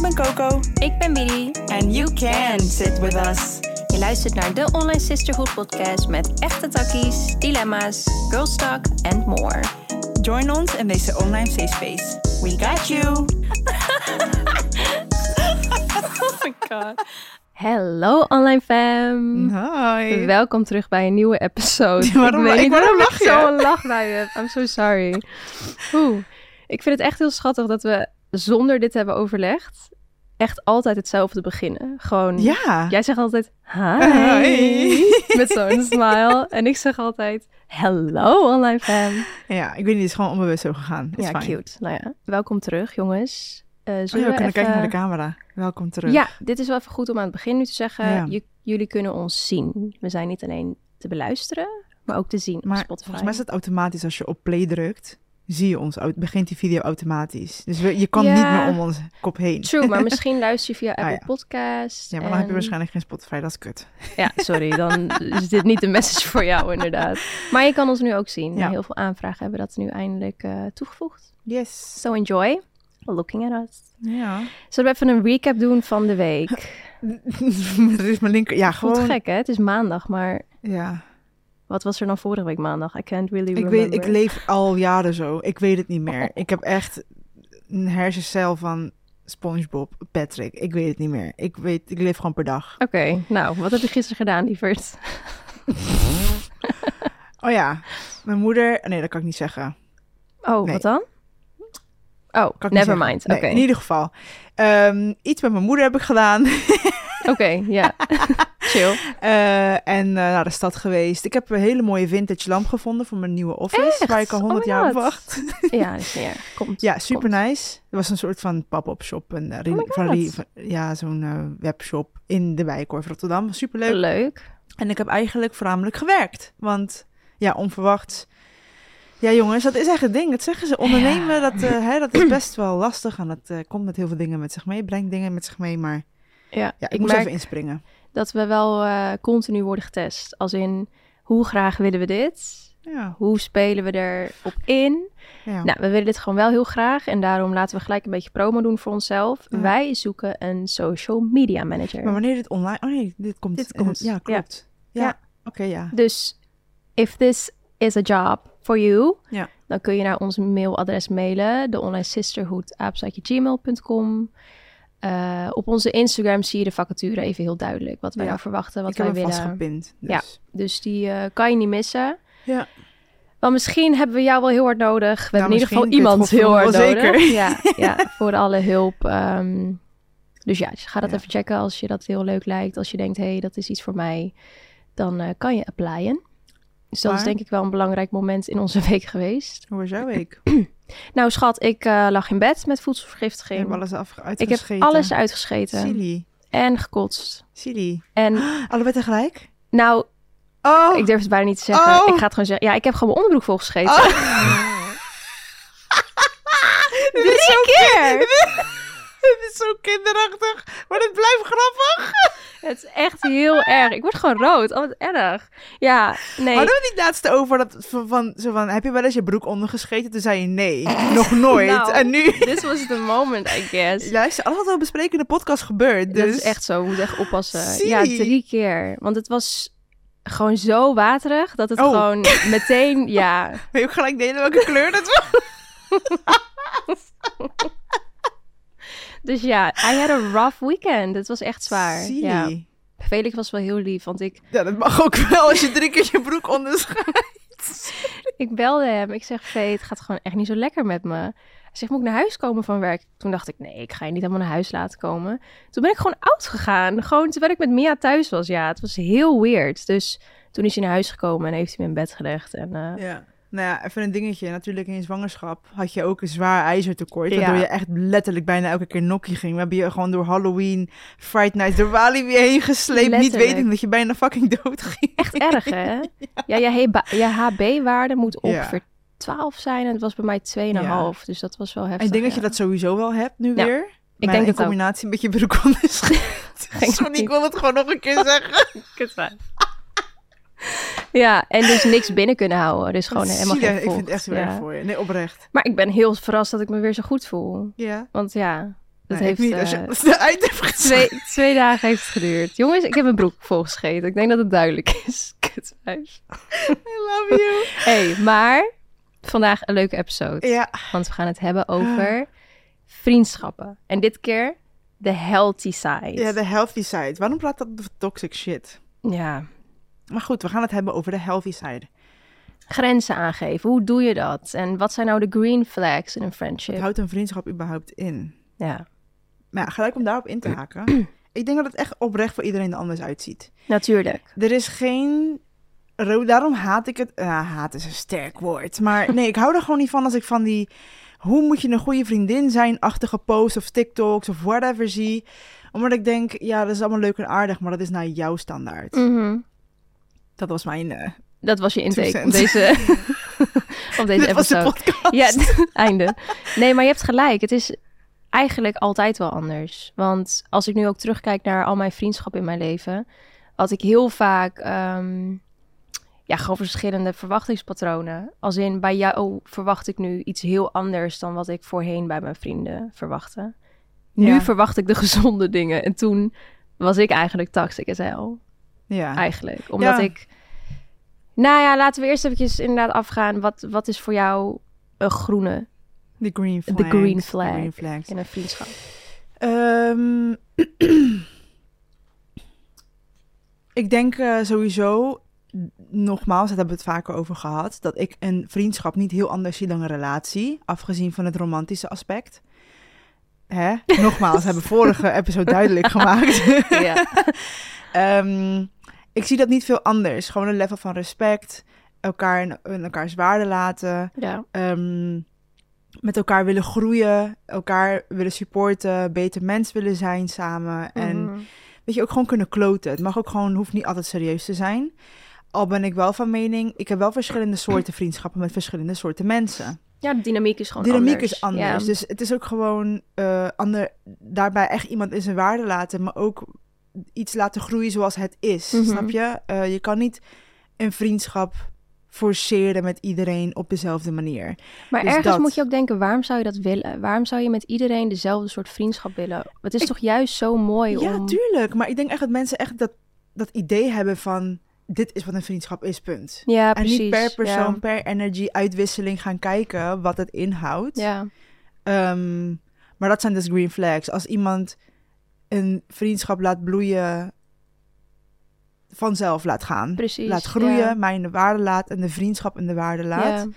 ben Coco Ik ben Miri. and you can sit with us. Je luistert naar de Online Sisterhood podcast met echte takkies, dilemma's, girl talk and Oh more. Join ons in deze online safe space. We got you! Oh my god. Hallo online fam. Hoi. Welkom terug bij een nieuwe episode. Waarom- ik weet niet ik- waarom waarom ik lach je? zo'n lach bij je heb. I'm so sorry. Oeh. Ik vind het echt heel schattig dat we zonder dit hebben overlegd echt altijd hetzelfde beginnen. Gewoon, Ja. jij zegt altijd hi, Hoi. met zo'n smile. En ik zeg altijd hello online fam. Ja, ik weet niet, het is gewoon onbewust zo gegaan. It's ja, fine. cute. Nou ja, welkom terug jongens. Eh Oh ja, zullen we kunnen even... kijken naar de camera. Welkom terug. Ja, dit is wel even goed om aan het begin nu te zeggen. Ja. J- jullie kunnen ons zien. We zijn niet alleen te beluisteren, maar ook te zien Maar op Spotify. volgens mij is het automatisch als je op play drukt, zie je ons, au- begint die video automatisch. Dus we- je kan Ja. niet meer om onze kop heen. True, maar misschien luister je via Apple Ah, ja. Podcast. Ja, maar dan en- heb je waarschijnlijk geen Spotify, dat is kut. Ja, sorry, dan is dit niet de message voor jou inderdaad. Maar je kan ons nu ook zien. Ja. Heel veel aanvragen hebben dat nu eindelijk eh, toegevoegd. Yes. So enjoy looking at us. Ja. Zullen we even een recap doen van de week? er is mijn linker... Ja, Voelt gewoon... gek hè? Het is maandag, maar Ja. wat was er dan vorige week maandag? I can't really Ik, remember. weet, ik leef al jaren zo. Ik weet het niet Oh. meer. Ik heb echt een hersencel van SpongeBob, Patrick. Ik weet het niet meer. Ik, weet, ik leef gewoon per dag. Oké, nou, wat heb je gisteren gedaan, lieverd? Oh ja, mijn moeder. Nee, dat kan ik niet zeggen. Oh, Nee. wat dan? Oh, Kan ik never niet mind. zeggen. Nee, Oké, In ieder geval. Ehm, iets met mijn moeder heb ik gedaan. oké, ja. Chill. Eh, en eh, naar de stad geweest. Ik heb een hele mooie vintage lamp gevonden voor mijn nieuwe office. Waar ik al Oh 100 my jaar op God. wacht. Ja, dat is niet erg. Komt. Ja, super nice. Het was een soort van pop-up shop. Een, eh, re- Oh my van God. re- van- ja, zo'n eh, webshop in de Wijkhoorn, Rotterdam. Super leuk. Leuk. En ik heb eigenlijk voornamelijk gewerkt. Want ja, onverwacht. Ja, jongens, dat is echt een ding. Dat zeggen ze. Ondernemen, dat, eh, hè, dat is best wel lastig. En dat eh, komt met heel veel dingen met zich mee. Brengt dingen met zich mee. Maar Ja, ja, ik, ik moest merk even inspringen. dat we wel eh, continu worden getest. Als in, hoe graag willen we dit? Ja, Hoe spelen we erop in? ja. Nou, we willen dit gewoon wel heel graag. En daarom laten we gelijk een beetje promo doen voor onszelf. Ja. Wij zoeken een social media manager. Maar wanneer dit online... Oh nee, dit komt... Dit in- komt, Ja, klopt. Ja, Ja. oké, ja. Dus if this is a job for you, Ja. dan kun je naar ons mailadres mailen, de online sisterhood Eh, op onze Instagram zie je de vacature even heel duidelijk wat wij Ja. nou verwachten, wat ik wij heb hem willen. vastgepind. Ja. Dus. Dus die eh, kan je niet missen. Ja. Want misschien hebben we jou wel heel hard nodig. We Nou, hebben in ieder geval misschien, iemand dit heel hard gevoel wel nodig. Ja, ja, voor alle hulp. ehm. dus ja, dus ga dat Ja. even checken als je dat heel leuk lijkt. Als je denkt, hé, hey, dat is iets voor mij. Dan eh, kan je applyen. Dus dat is Maar- denk ik wel een belangrijk moment in onze week geweest. Hoe was jouw week? Nou schat, ik eh, lag in bed met Ik voedselvergiftiging. heb alles af, ik heb uitgescheten. alles uitgescheten. Silly. En gekotst. Silly. En Allebei tegelijk? nou, Oh! ik durf het bijna niet te zeggen. Oh. Ik ga het gewoon zeggen. Ja, ik heb gewoon mijn onderbroek volgescheten. is zo keer! Het is zo kinderachtig, maar het blijft grappig. Het is echt heel erg. Ik word gewoon rood. Oh, wat erg. Ja, nee. Hadden we het niet laatst over dat van, van, zo van, heb je wel eens je broek ondergescheten? Toen zei je nee, nog nooit. Nou. En nu, This was the moment, I guess. luister, alles wat we bespreken in de podcast gebeurt. Dus Dat is echt zo. We moeten echt oppassen. Zie. Ja, drie keer. Want het was gewoon zo waterig dat het Oh. gewoon meteen... Ja, Wil je ook gelijk delen welke kleur dat was? dus ja. I had a rough weekend. Het was echt zwaar. Silly. Ja. Felix was wel heel lief, want ik, Ja, dat mag ook wel als je drie keer je broek onderscheidt. ik belde hem. Ik zeg, Vee, het gaat gewoon echt niet zo lekker met me. Hij zegt, moet ik naar huis komen van werk? Toen dacht ik, nee, ik ga je niet helemaal naar huis laten komen. Toen ben ik gewoon oud gegaan. Gewoon terwijl ik met Mia thuis was. Ja, het was heel weird. Dus toen is hij naar huis gekomen en heeft hij me in bed gelegd. En eh, Ja. Nou ja, even een dingetje. Natuurlijk in je zwangerschap had je ook een zwaar ijzertekort. Ja. Waardoor je echt letterlijk bijna elke keer nokkie ging. We hebben je gewoon door Halloween, Fright Night, door Walibi heen gesleept. Niet Letterlijk. wetend dat je bijna fucking dood ging. echt erg, hè? Ja, je, heba- je HB-waarde moet Ja. ongeveer 12 zijn. En het was bij mij 2,5. Dus dat was wel heftig. ik denk dat ja. je dat sowieso wel hebt nu Ja, weer. Ik Maar denk in dat ook. combinatie met je broek onderscheid. Sorry, ik wil het gewoon nog een keer zeggen. Ja, en dus niks binnen kunnen houden. Dus gewoon helemaal Zielig, geen Ik vind het echt vocht, heel ja. erg voor je. Nee, oprecht. Maar ik ben heel verrast dat ik me weer zo goed voel. Ja. Want ja, Dat Nee, ik heeft niet, als eh, je als je de eind hebt gezegd. twee, twee dagen heeft het geduurd. Jongens, ik heb mijn broek volgescheten. Ik denk dat het duidelijk is. Kutwijf. I love you. hey, maar vandaag een leuke episode. Ja, Want we gaan het hebben Ah. over vriendschappen. En dit keer de healthy side. ja, de healthy side. Waarom praat dat over toxic shit? Ja. Maar goed, we gaan het hebben over de healthy side. Grenzen aangeven. Hoe doe je dat? En wat zijn nou de green flags in een Het friendship? houdt een vriendschap überhaupt in. Ja, Maar ja, gelijk om daarop in te haken. Ik denk dat het echt oprecht voor iedereen er anders uitziet. natuurlijk. Er is geen... ro- Daarom haat ik het... Ah, haat is een sterk woord. Maar nee, ik hou er gewoon niet van als ik van die... Hoe moet je een goede vriendin zijn? Achtige posts of TikToks of whatever zie. Omdat ik denk, ja, dat is allemaal leuk en aardig. Maar dat is naar jouw standaard. Mhm. Dat was mijn... eh Dat was je intake Two op deze, op deze dit was de episode. podcast. Ja, einde. Nee, maar je hebt gelijk. Het is eigenlijk altijd wel anders. Want als ik nu ook terugkijk naar al mijn vriendschappen in mijn leven, had ik heel vaak ehm, ja, gewoon verschillende verwachtingspatronen. Als in bij jou verwacht ik nu iets heel anders dan wat ik voorheen bij mijn vrienden verwachtte. Nu Ja. verwacht ik de gezonde dingen. En toen was ik eigenlijk toxic as hell Ja. eigenlijk. Omdat Ja. ik... Nou ja, laten we eerst eventjes inderdaad afgaan. Wat, wat is voor jou een groene De green De flags. green flag. green flags. in een vriendschap? Ehm, ik denk eh, sowieso, n- nogmaals, daar hebben we het vaker over gehad, dat ik een vriendschap niet heel anders zie dan een relatie, afgezien van het romantische aspect. Hè? Nogmaals, hebben we vorige episode duidelijk gemaakt. ja. Ehm, ik zie dat niet veel anders. Gewoon een level van respect, elkaar in, in elkaars waarde laten ja. ehm, met elkaar willen groeien, elkaar willen supporten, beter mens willen zijn samen. En Mhm. weet je, ook gewoon kunnen kloten. Het mag ook gewoon, hoeft niet altijd serieus te zijn. Al ben ik wel van mening, ik heb wel verschillende soorten vriendschappen met verschillende soorten mensen. ja, de dynamiek is gewoon Dynamiek anders. is anders. Ja. Dus het is ook gewoon eh, ander, daarbij echt iemand in zijn waarde laten, maar ook iets laten groeien zoals het is. Mhm. Snap je? Eh, je kan niet een vriendschap forceren met iedereen op dezelfde manier. maar dus ergens dat. moet je ook denken, waarom zou je dat willen? Waarom zou je met iedereen dezelfde soort vriendschap willen? Het is Ik- toch juist zo mooi Ja, om... tuurlijk. Maar ik denk echt dat mensen echt dat, dat idee hebben van... dit is wat een vriendschap is, punt. Ja, en precies. niet per persoon, Ja. per energy uitwisseling gaan kijken wat het inhoudt. Ja. Ehm, maar dat zijn dus green flags. Als iemand een vriendschap laat bloeien... vanzelf laat gaan. precies. Laat groeien, Ja. mij in de waarde laat... en de vriendschap in de waarde laat. Ja.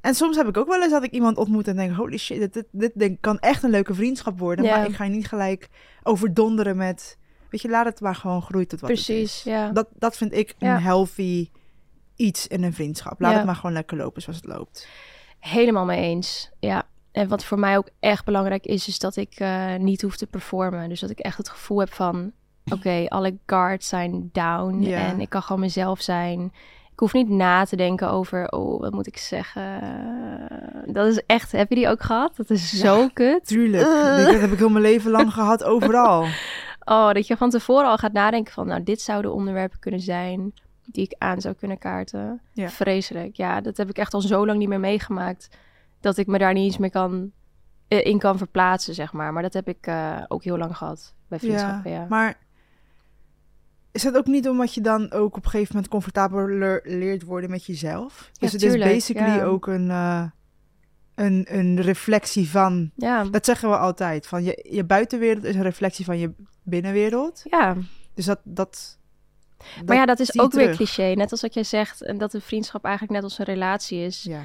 En soms heb ik ook wel eens dat ik iemand ontmoet en denk... holy shit, dit, dit, dit denk- kan echt een leuke vriendschap worden. Ja. Maar ik ga je niet gelijk overdonderen met... Weet je, laat het maar gewoon groeien tot wat het Precies, is. ja. Dat, dat vind ik een Ja. healthy iets in een vriendschap. Laat Ja. het maar gewoon lekker lopen zoals het loopt. Helemaal mee eens. Ja. En wat voor mij ook echt belangrijk is, is dat ik eh, niet hoef te performen. Dus dat ik echt het gevoel heb van: oké, alle guards zijn down. Ja. En ik kan gewoon mezelf zijn. Ik hoef niet na te denken over: oh, wat moet ik zeggen? Dat is echt, heb je die ook gehad? Dat is zo kut. Tuurlijk, Eh. dat heb ik heel mijn leven lang gehad, overal. Oh, dat je van tevoren al gaat nadenken van: nou, dit zouden onderwerpen kunnen zijn die ik aan zou kunnen kaarten. Ja. Vreselijk. Ja, dat heb ik echt al zo lang niet meer meegemaakt dat ik me daar niet eens meer kan, eh, in kan verplaatsen, zeg maar. Maar dat heb ik eh, ook heel lang gehad bij vriendschappen. Ja, Maar is dat ook niet omdat je dan ook op een gegeven moment comfortabeler leert worden met jezelf? Dus het tuurlijk, is basically ja. ook een, eh, een, een reflectie van ja. Dat zeggen we altijd. Van je, je buitenwereld is een reflectie van je binnenwereld. ja. Dus dat. dat maar ja, dat is zie je ook weer terug. cliché. Net als wat jij zegt, en dat een vriendschap eigenlijk net als een relatie is. Ja.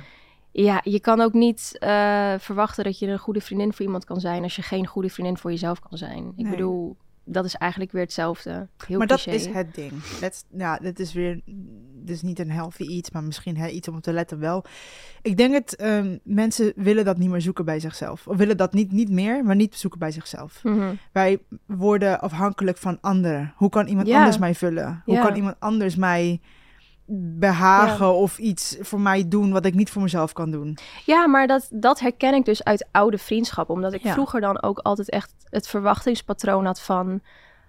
Ja, je kan ook niet eh, verwachten dat je een goede vriendin voor iemand kan zijn als je geen goede vriendin voor jezelf kan zijn. Ik Nee. bedoel, dat is eigenlijk weer hetzelfde. Heel maar dat cliché. is het ding. Dat, ja, dit is weer. Dit is niet een healthy iets, maar misschien hè, iets om op te letten wel. Ik denk het. ehm, mensen willen dat niet meer zoeken bij zichzelf. Of willen dat niet, niet meer, maar niet zoeken bij zichzelf. Mhm. Wij worden afhankelijk van anderen. Hoe kan iemand Ja. anders mij vullen? Hoe Ja. kan iemand anders mij behagen of iets voor mij doen wat ik niet voor mezelf kan doen? Ja, maar dat, dat herken ik dus uit oude vriendschappen. Omdat ik Ja. vroeger dan ook altijd echt het verwachtingspatroon had van...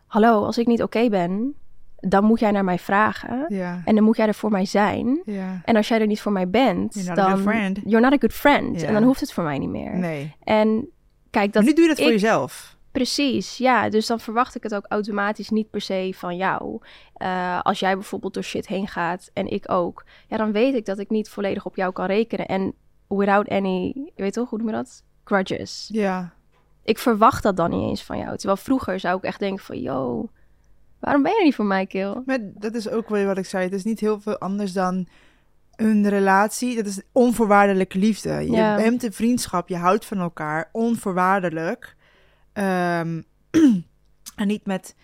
Hallo, als ik niet oké ben, dan moet jij naar mij vragen. Ja. En dan moet jij er voor mij zijn. Ja. En als jij er niet voor mij bent, You're not a dan... good friend. You're not a good friend. Ja. En dan hoeft het voor mij niet meer. Nee. En Kijk, Maar dat nu doe je dat voor ik- jezelf. Precies, ja. Dus dan verwacht ik het ook automatisch niet per se van jou. Eh, als jij bijvoorbeeld door shit heen gaat en ik ook, ja, dan weet ik dat ik niet volledig op jou kan rekenen. En without any, je weet toch, hoe noem je dat? Grudges. Ja. Ik verwacht dat dan niet eens van jou. Terwijl vroeger zou ik echt denken van, yo, waarom ben je er niet voor mij, Kil? Maar dat is ook weer wat ik zei. Het is niet heel veel anders dan een relatie. Dat is onvoorwaardelijke liefde. Je Ja. hebt een vriendschap, je houdt van elkaar, onvoorwaardelijk. Ehm, en niet met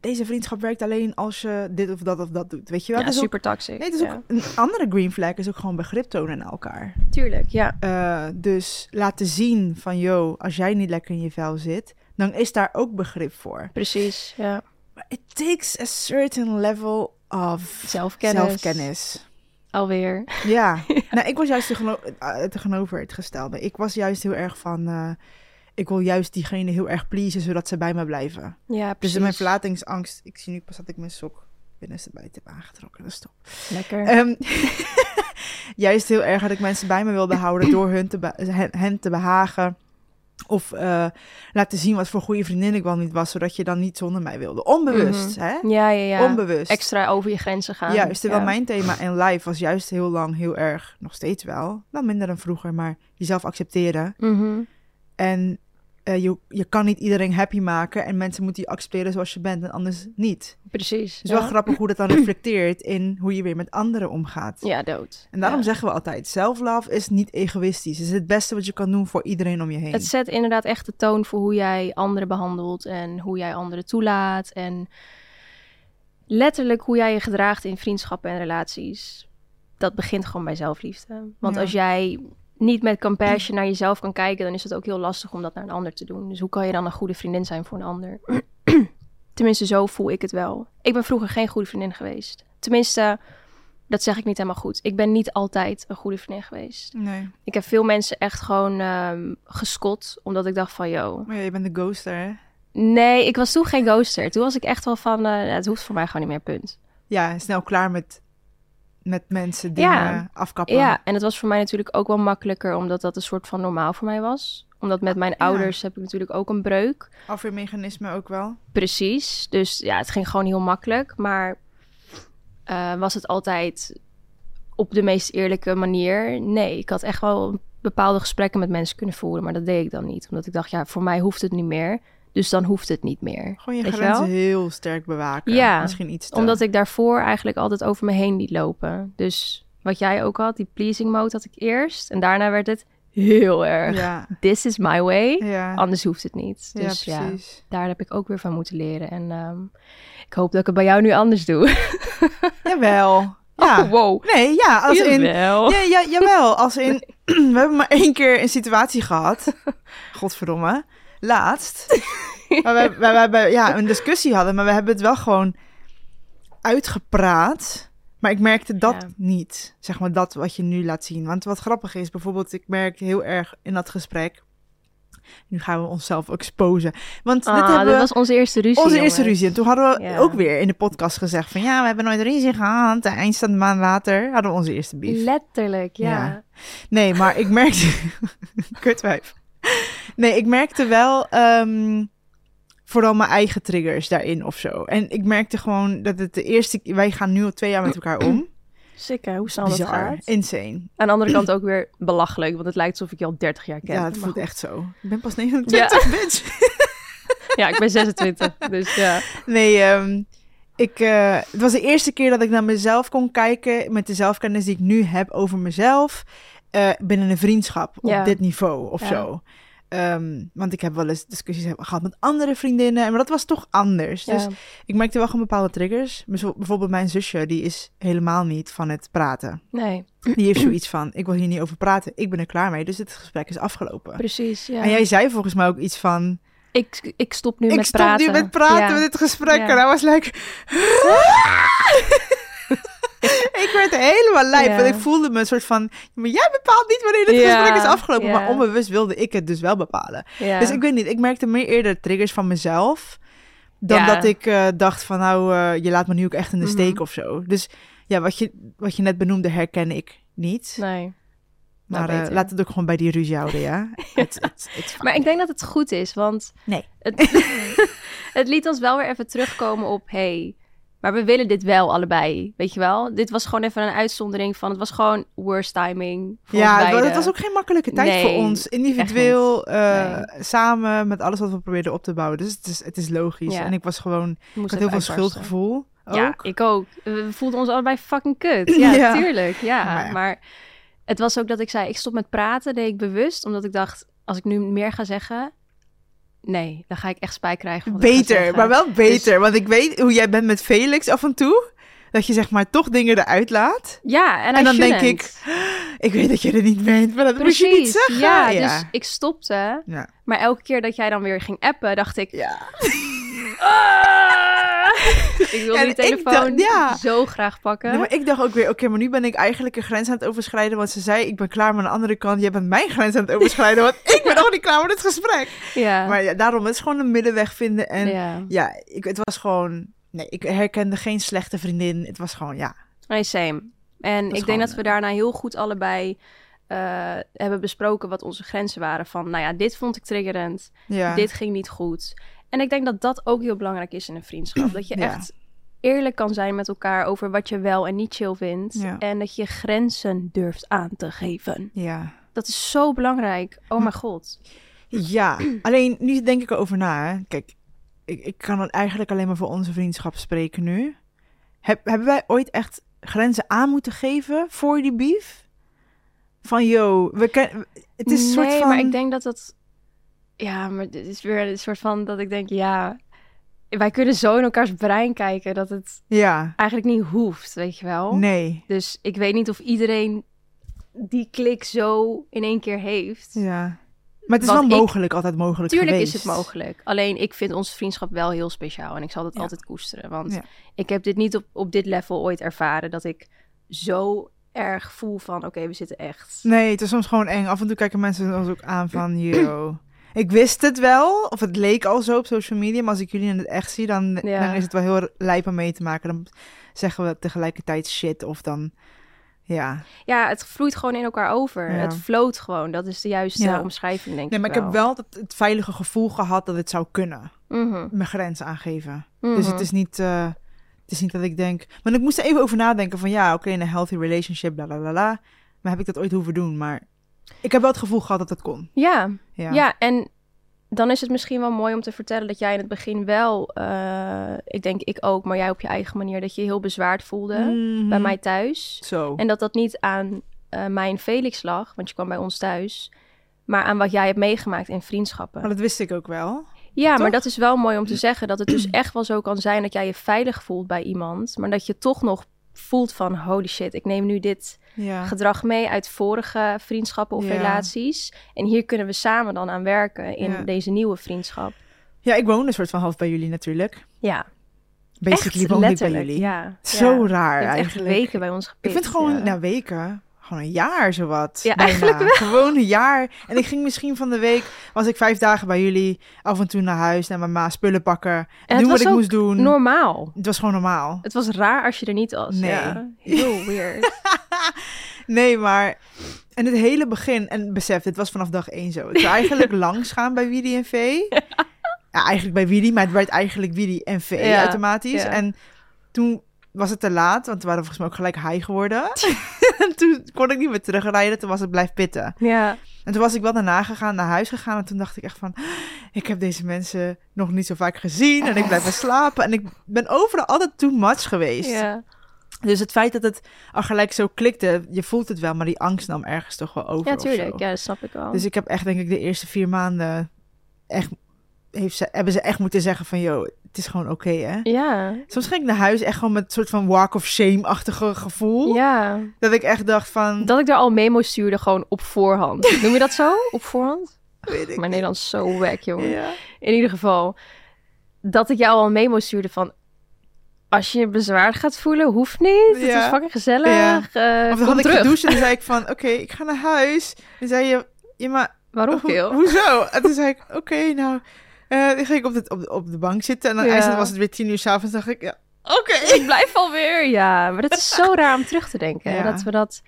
deze vriendschap werkt alleen als je dit of dat of dat doet. Weet je wel? Ja, Het is ook- super toxic. nee, het is ook een andere green flag is ook gewoon begrip tonen aan elkaar. Ja, tuurlijk, ja. Eh, dus laten zien van, yo, als jij niet lekker in je vel zit, dan is daar ook begrip voor. Precies, ja. Maar it takes a certain level of Zelfkennis. zelfkennis. Alweer. Ja. nou, ik was juist tegeno- eh, tegenover het gestelde. Ik was juist heel erg van, eh, ik wil juist diegene heel erg pleasen, zodat ze bij me blijven. Ja, Dus precies. mijn verlatingsangst, ik zie nu pas dat ik mijn sok binnenstebuiten heb aangetrokken, dat is top. Lekker. Ehm, juist heel erg dat ik mensen bij me wilde houden door hun te be- hen, hen te behagen. Of eh, laten zien wat voor goede vriendin ik wel niet was, zodat je dan niet zonder mij wilde. Onbewust, hè? ja, ja, Mhm. ja. Onbewust. Extra over je grenzen gaan. Juist, terwijl Ja. mijn thema in life was juist heel lang heel erg, nog steeds wel, wel minder dan vroeger, maar jezelf accepteren. Mhm. En eh, je, je kan niet iedereen happy maken en mensen moeten je accepteren zoals je bent en anders niet. Precies. Het is wel ja. grappig hoe dat dan reflecteert in hoe je weer met anderen omgaat. Ja, dood. En daarom Ja. zeggen we altijd, self-love is niet egoïstisch. Het is het beste wat je kan doen voor iedereen om je heen. Het zet inderdaad echt de toon voor hoe jij anderen behandelt en hoe jij anderen toelaat. En letterlijk hoe jij je gedraagt in vriendschappen en relaties. Dat begint gewoon bij zelfliefde. Want Ja. als jij niet met compassion naar jezelf kan kijken, dan is het ook heel lastig om dat naar een ander te doen. Dus hoe kan je dan een goede vriendin zijn voor een ander? Tenminste, zo voel ik het wel. Ik ben vroeger geen goede vriendin geweest. Tenminste, dat zeg ik niet helemaal goed. Ik ben niet altijd een goede vriendin geweest. Nee, Ik heb veel mensen echt gewoon ehm, geskot, omdat ik dacht van, yo. maar Oh ja, je bent de ghoster, hè? Nee, ik was toen geen ghoster. Toen was ik echt wel van, eh, het hoeft voor mij gewoon niet meer, punt. Ja, snel klaar met, met mensen dingen Ja. afkappen. Ja, en het was voor mij natuurlijk ook wel makkelijker, omdat dat een soort van normaal voor mij was. Omdat met mijn ouders heb ik natuurlijk ook een breuk. Afweermechanisme ook wel. Precies. Dus ja, het ging gewoon heel makkelijk. Maar eh, was het altijd op de meest eerlijke manier? Nee, ik had echt wel bepaalde gesprekken met mensen kunnen voeren, maar dat deed ik dan niet. Omdat ik dacht, ja, voor mij hoeft het niet meer. Dus dan hoeft het niet meer. Gewoon je Weet je grenzen wel? heel sterk bewaken. Ja, Misschien iets te... Omdat ik daarvoor eigenlijk altijd over me heen liet lopen. Dus wat jij ook had, die pleasing mode had ik eerst. En daarna werd het heel erg. Ja, This is my way. ja. Anders hoeft het niet. ja, Dus ja, precies. daar heb ik ook weer van moeten leren. En ehm, ik hoop dat ik het bij jou nu anders doe. Jawel. Ja. Oh, wow. Nee, ja, als in... Jawel. Ja, ja, jawel, als in... We hebben maar één keer een situatie gehad. Godverdomme. Laatst. Waar we, waar we hebben, ja, een discussie hadden, maar we hebben het wel gewoon uitgepraat. Maar ik merkte dat Ja. niet. Zeg maar dat wat je nu laat zien. Want wat grappig is, bijvoorbeeld, ik merk heel erg in dat gesprek... Nu gaan we onszelf exposen. Want dit Ah, hebben dit we... was onze eerste ruzie. Onze eerste jongens. ruzie. En toen hadden we Ja. ook weer in de podcast gezegd van... ja, we hebben nooit ruzie gehad. En Eind van de maand later hadden we onze eerste beef. Letterlijk, ja. Ja. Nee, maar ik merkte... Kutwijf. Nee, ik merkte wel... ehm, vooral mijn eigen triggers daarin of zo. En ik merkte gewoon dat het de eerste... Wij gaan nu al twee jaar met elkaar om. Sikke, hoe snel dat Bizar. gaat. Insane. Aan de andere kant ook weer belachelijk, want het lijkt alsof ik je al 30 jaar ken. Ja, Maar het voelt goed. echt zo. Ik ben pas 29, bitch. ja, ik ben 26, dus ja. Nee, ehm, ik, eh, het was de eerste keer dat ik naar mezelf kon kijken. Met de zelfkennis die ik nu heb over mezelf. eh, binnen een vriendschap op Ja. dit niveau of Ja. zo. Ehm, want ik heb wel eens discussies heb- gehad met andere vriendinnen. Maar dat was toch anders. Dus Ja. ik merkte wel gewoon bepaalde triggers. Bijvo- Bijvoorbeeld mijn zusje, die is helemaal niet van het praten. Nee, Die heeft zoiets van, ik wil hier niet over praten. Ik ben er klaar mee, dus dit gesprek is afgelopen. precies. Ja. En jij zei volgens mij ook iets van... ik, ik stop nu ik met stop praten. nu met praten Ja. met dit gesprek. Ja. En hij was like... ik werd helemaal lijp. Ja. Want ik voelde me een soort van... Maar jij bepaalt niet wanneer dit Ja, gesprek is afgelopen. ja. Maar onbewust wilde ik het dus wel bepalen. Ja. Dus ik weet niet. Ik merkte meer eerder triggers van mezelf... Dan Ja. dat ik eh, dacht van nou, eh, je laat me nu ook echt in de Mhm. steek of zo. Dus ja, wat je, wat je net benoemde herken ik niet. Nee. Maar eh, nou beter. laat het ook gewoon bij die ruzie houden, ja? Het- het- het- Maar ik denk dat het goed is, want Nee. het, het liet ons wel weer even terugkomen op... hey, maar we willen dit wel allebei, weet je wel? Dit was gewoon even een uitzondering van... Het was gewoon worst timing voor ons Ja, beiden. dat was ook geen makkelijke tijd Nee, voor ons. Individueel, eh, Nee. samen met alles wat we probeerden op te bouwen. Dus het is, het is logisch. Ja. En ik was gewoon, Ik ik moest had heel even veel uitbarsten. schuldgevoel Oh. ook. Ja, ik ook. We voelden ons allebei fucking kut. Ja, Ja. tuurlijk. Ja. Maar ja. Maar het was ook dat ik zei, ik stop met praten, deed ik bewust. Omdat ik dacht, als ik nu meer ga zeggen... Nee, dan ga ik echt spijt krijgen. van wat ik ga Beter, zeggen. Dus- maar wel beter. Want ik weet hoe jij bent met Felix af en toe. Dat je zeg maar toch dingen eruit laat. Ja, en, En I dan denk shouldn't. ik, Ik weet dat je het niet meent, maar dat moet je niet zeggen. Ja, ja. dus ik stopte. Ja. Maar elke keer dat jij dan weer ging appen, dacht ik... Ja. "Ah!" ik wil En die ik telefoon dacht- ja. zo graag pakken. Nee, maar ik dacht ook weer, oké, maar nu ben ik eigenlijk een grens aan het overschrijden. Want ze zei, ik ben klaar, maar aan de andere kant, jij bent mijn grens aan het overschrijden. Want ik ben nog niet klaar met het gesprek. ja. Maar ja, daarom, het is gewoon een middenweg vinden. En ja, ja. ik, het was gewoon... Nee, ik herkende geen slechte vriendin. Het was gewoon, ja. Nee, same. En ik is denk gewoon, eh, dat we daarna heel goed allebei eh, hebben besproken wat onze grenzen waren. Van, nou ja, dit vond ik triggerend. ja. Dit ging niet goed. En ik denk dat dat ook heel belangrijk is in een vriendschap. Dat je Ja. echt eerlijk kan zijn met elkaar over wat je wel en niet chill vindt. Ja. En dat je grenzen durft aan te geven. Ja. Dat is zo belangrijk. Oh Hm. mijn god. Ja, alleen nu denk ik erover na. Hè. Kijk, ik, ik kan het eigenlijk alleen maar voor onze vriendschap spreken nu. Heb, hebben wij ooit echt grenzen aan moeten geven voor die beef? Van, yo, we ken, het is een nee, soort van... maar ik denk dat dat... Ja, maar dit is weer een soort van dat ik denk, ja... Wij kunnen zo in elkaars brein kijken dat het... Ja, eigenlijk niet hoeft, weet je wel. nee. Dus ik weet niet of iedereen die klik zo in één keer heeft. Ja. Maar het is Want wel ik- mogelijk, altijd mogelijk Tuurlijk geweest. is het mogelijk. Alleen ik vind onze vriendschap wel heel speciaal en ik zal dat Ja. altijd koesteren. Want Ja. ik heb dit niet op, op dit level ooit ervaren dat ik zo erg voel van oké, we zitten echt. Nee, het is soms gewoon eng. Af en toe kijken mensen ons ook aan van, yo... Ik wist het wel, of het leek al zo op social media, maar als ik jullie in het echt zie, dan, Ja. dan is het wel heel lijp om mee te maken. Dan zeggen we tegelijkertijd shit, of dan... Ja. Ja, het vloeit gewoon in elkaar over. Ja. Het floot gewoon. Dat is de juiste Ja. omschrijving, denk Nee, ik. maar ik heb wel dat, het veilige gevoel gehad dat het zou kunnen. Mhm, Mijn grens aangeven. mhm. Dus het is niet... eh, het is niet dat ik denk... Maar ik moest er even over nadenken van, ja, oké, in een healthy relationship, la la la la. Maar heb ik dat ooit hoeven doen? Maar ik heb wel het gevoel gehad dat dat kon. Ja, Ja. Ja. en dan is het misschien wel mooi om te vertellen dat jij in het begin wel, eh, ik denk ik ook, maar jij op je eigen manier, dat je je heel bezwaard voelde Mhm. bij mij thuis. Zo. En dat dat niet aan eh mij en Felix lag, want je kwam bij ons thuis, maar aan wat jij hebt meegemaakt in vriendschappen. Maar dat wist ik ook wel. ja, maar toch? dat is wel mooi om te zeggen, dat het dus echt wel zo kan zijn dat jij je veilig voelt bij iemand, maar dat je toch nog voelt van holy shit, ik neem nu dit Ja. gedrag mee uit vorige vriendschappen of Ja. relaties. En hier kunnen we samen dan aan werken in Ja. deze nieuwe vriendschap. Ja, ik woon een soort van half bij jullie natuurlijk. Ja, Basically echt woon ik bij letterlijk. jullie. Ja, Zo ja. Je raar hebt echt eigenlijk. weken bij ons ik gepikt. vind gewoon, nou, ja. na weken, gewoon een jaar zowat. Ja, bijna. eigenlijk Gewoon een jaar. En ik ging misschien van de week, was ik vijf dagen bij jullie, af en toe naar huis, naar mama, spullen pakken, doen het was wat ik ook moest doen. normaal. Het was gewoon normaal. Het was raar als je er niet was. Nee. Ja. Heel weird. Nee, maar... En het hele begin, en besef, dit was vanaf dag één zo. Het zou eigenlijk langs gaan bij Widi en Vee. Ja, eigenlijk bij Widi, maar het werd eigenlijk Widi en Vee Ja, automatisch. ja. En toen was het te laat, want we waren volgens mij ook gelijk high geworden. en toen kon ik niet meer terugrijden, toen was het blijf pitten. ja. En toen was ik wel daarna gegaan, naar huis gegaan. En toen dacht ik echt van, ik heb deze mensen nog niet zo vaak gezien. En ik blijf maar slapen. En ik ben overal altijd too much geweest. ja. Dus het feit dat het al gelijk zo klikte, je voelt het wel, maar die angst nam ergens toch wel over. Ja, of zo. tuurlijk. Ja, dat snap ik wel. Dus ik heb echt, denk ik, de eerste vier maanden echt, heeft ze, hebben ze echt moeten zeggen van, joh, het is gewoon oké, hè? ja. Soms ging ik naar huis echt gewoon met een soort van walk of shame-achtige gevoel. Ja. Dat ik echt dacht van, Dat ik daar al memo's stuurde gewoon op voorhand. Noem je dat zo? Op voorhand? weet ik Mijn niet. Nederlands is zo wack, jongen. Ja. In ieder geval, dat ik jou al een memo stuurde van... Als je je bezwaar gaat voelen, hoeft niet. Het Ja. is fucking gezellig. eh, Of kom dan had ik terug. gedoucht en dan zei ik van, oké, ik ga naar huis. Dan zei je, ja, maar Waarom Ho- veel? hoezo? En toen zei ik, oké, nou... eh, dan ging ik op de, op, de- op de bank zitten en dan Ja. eindelijk was het weer tien uur s'avonds. dacht ik, ja, oké. Ik blijf alweer. Ja, maar dat is zo raar om terug te denken. hè, Ja. Dat we dat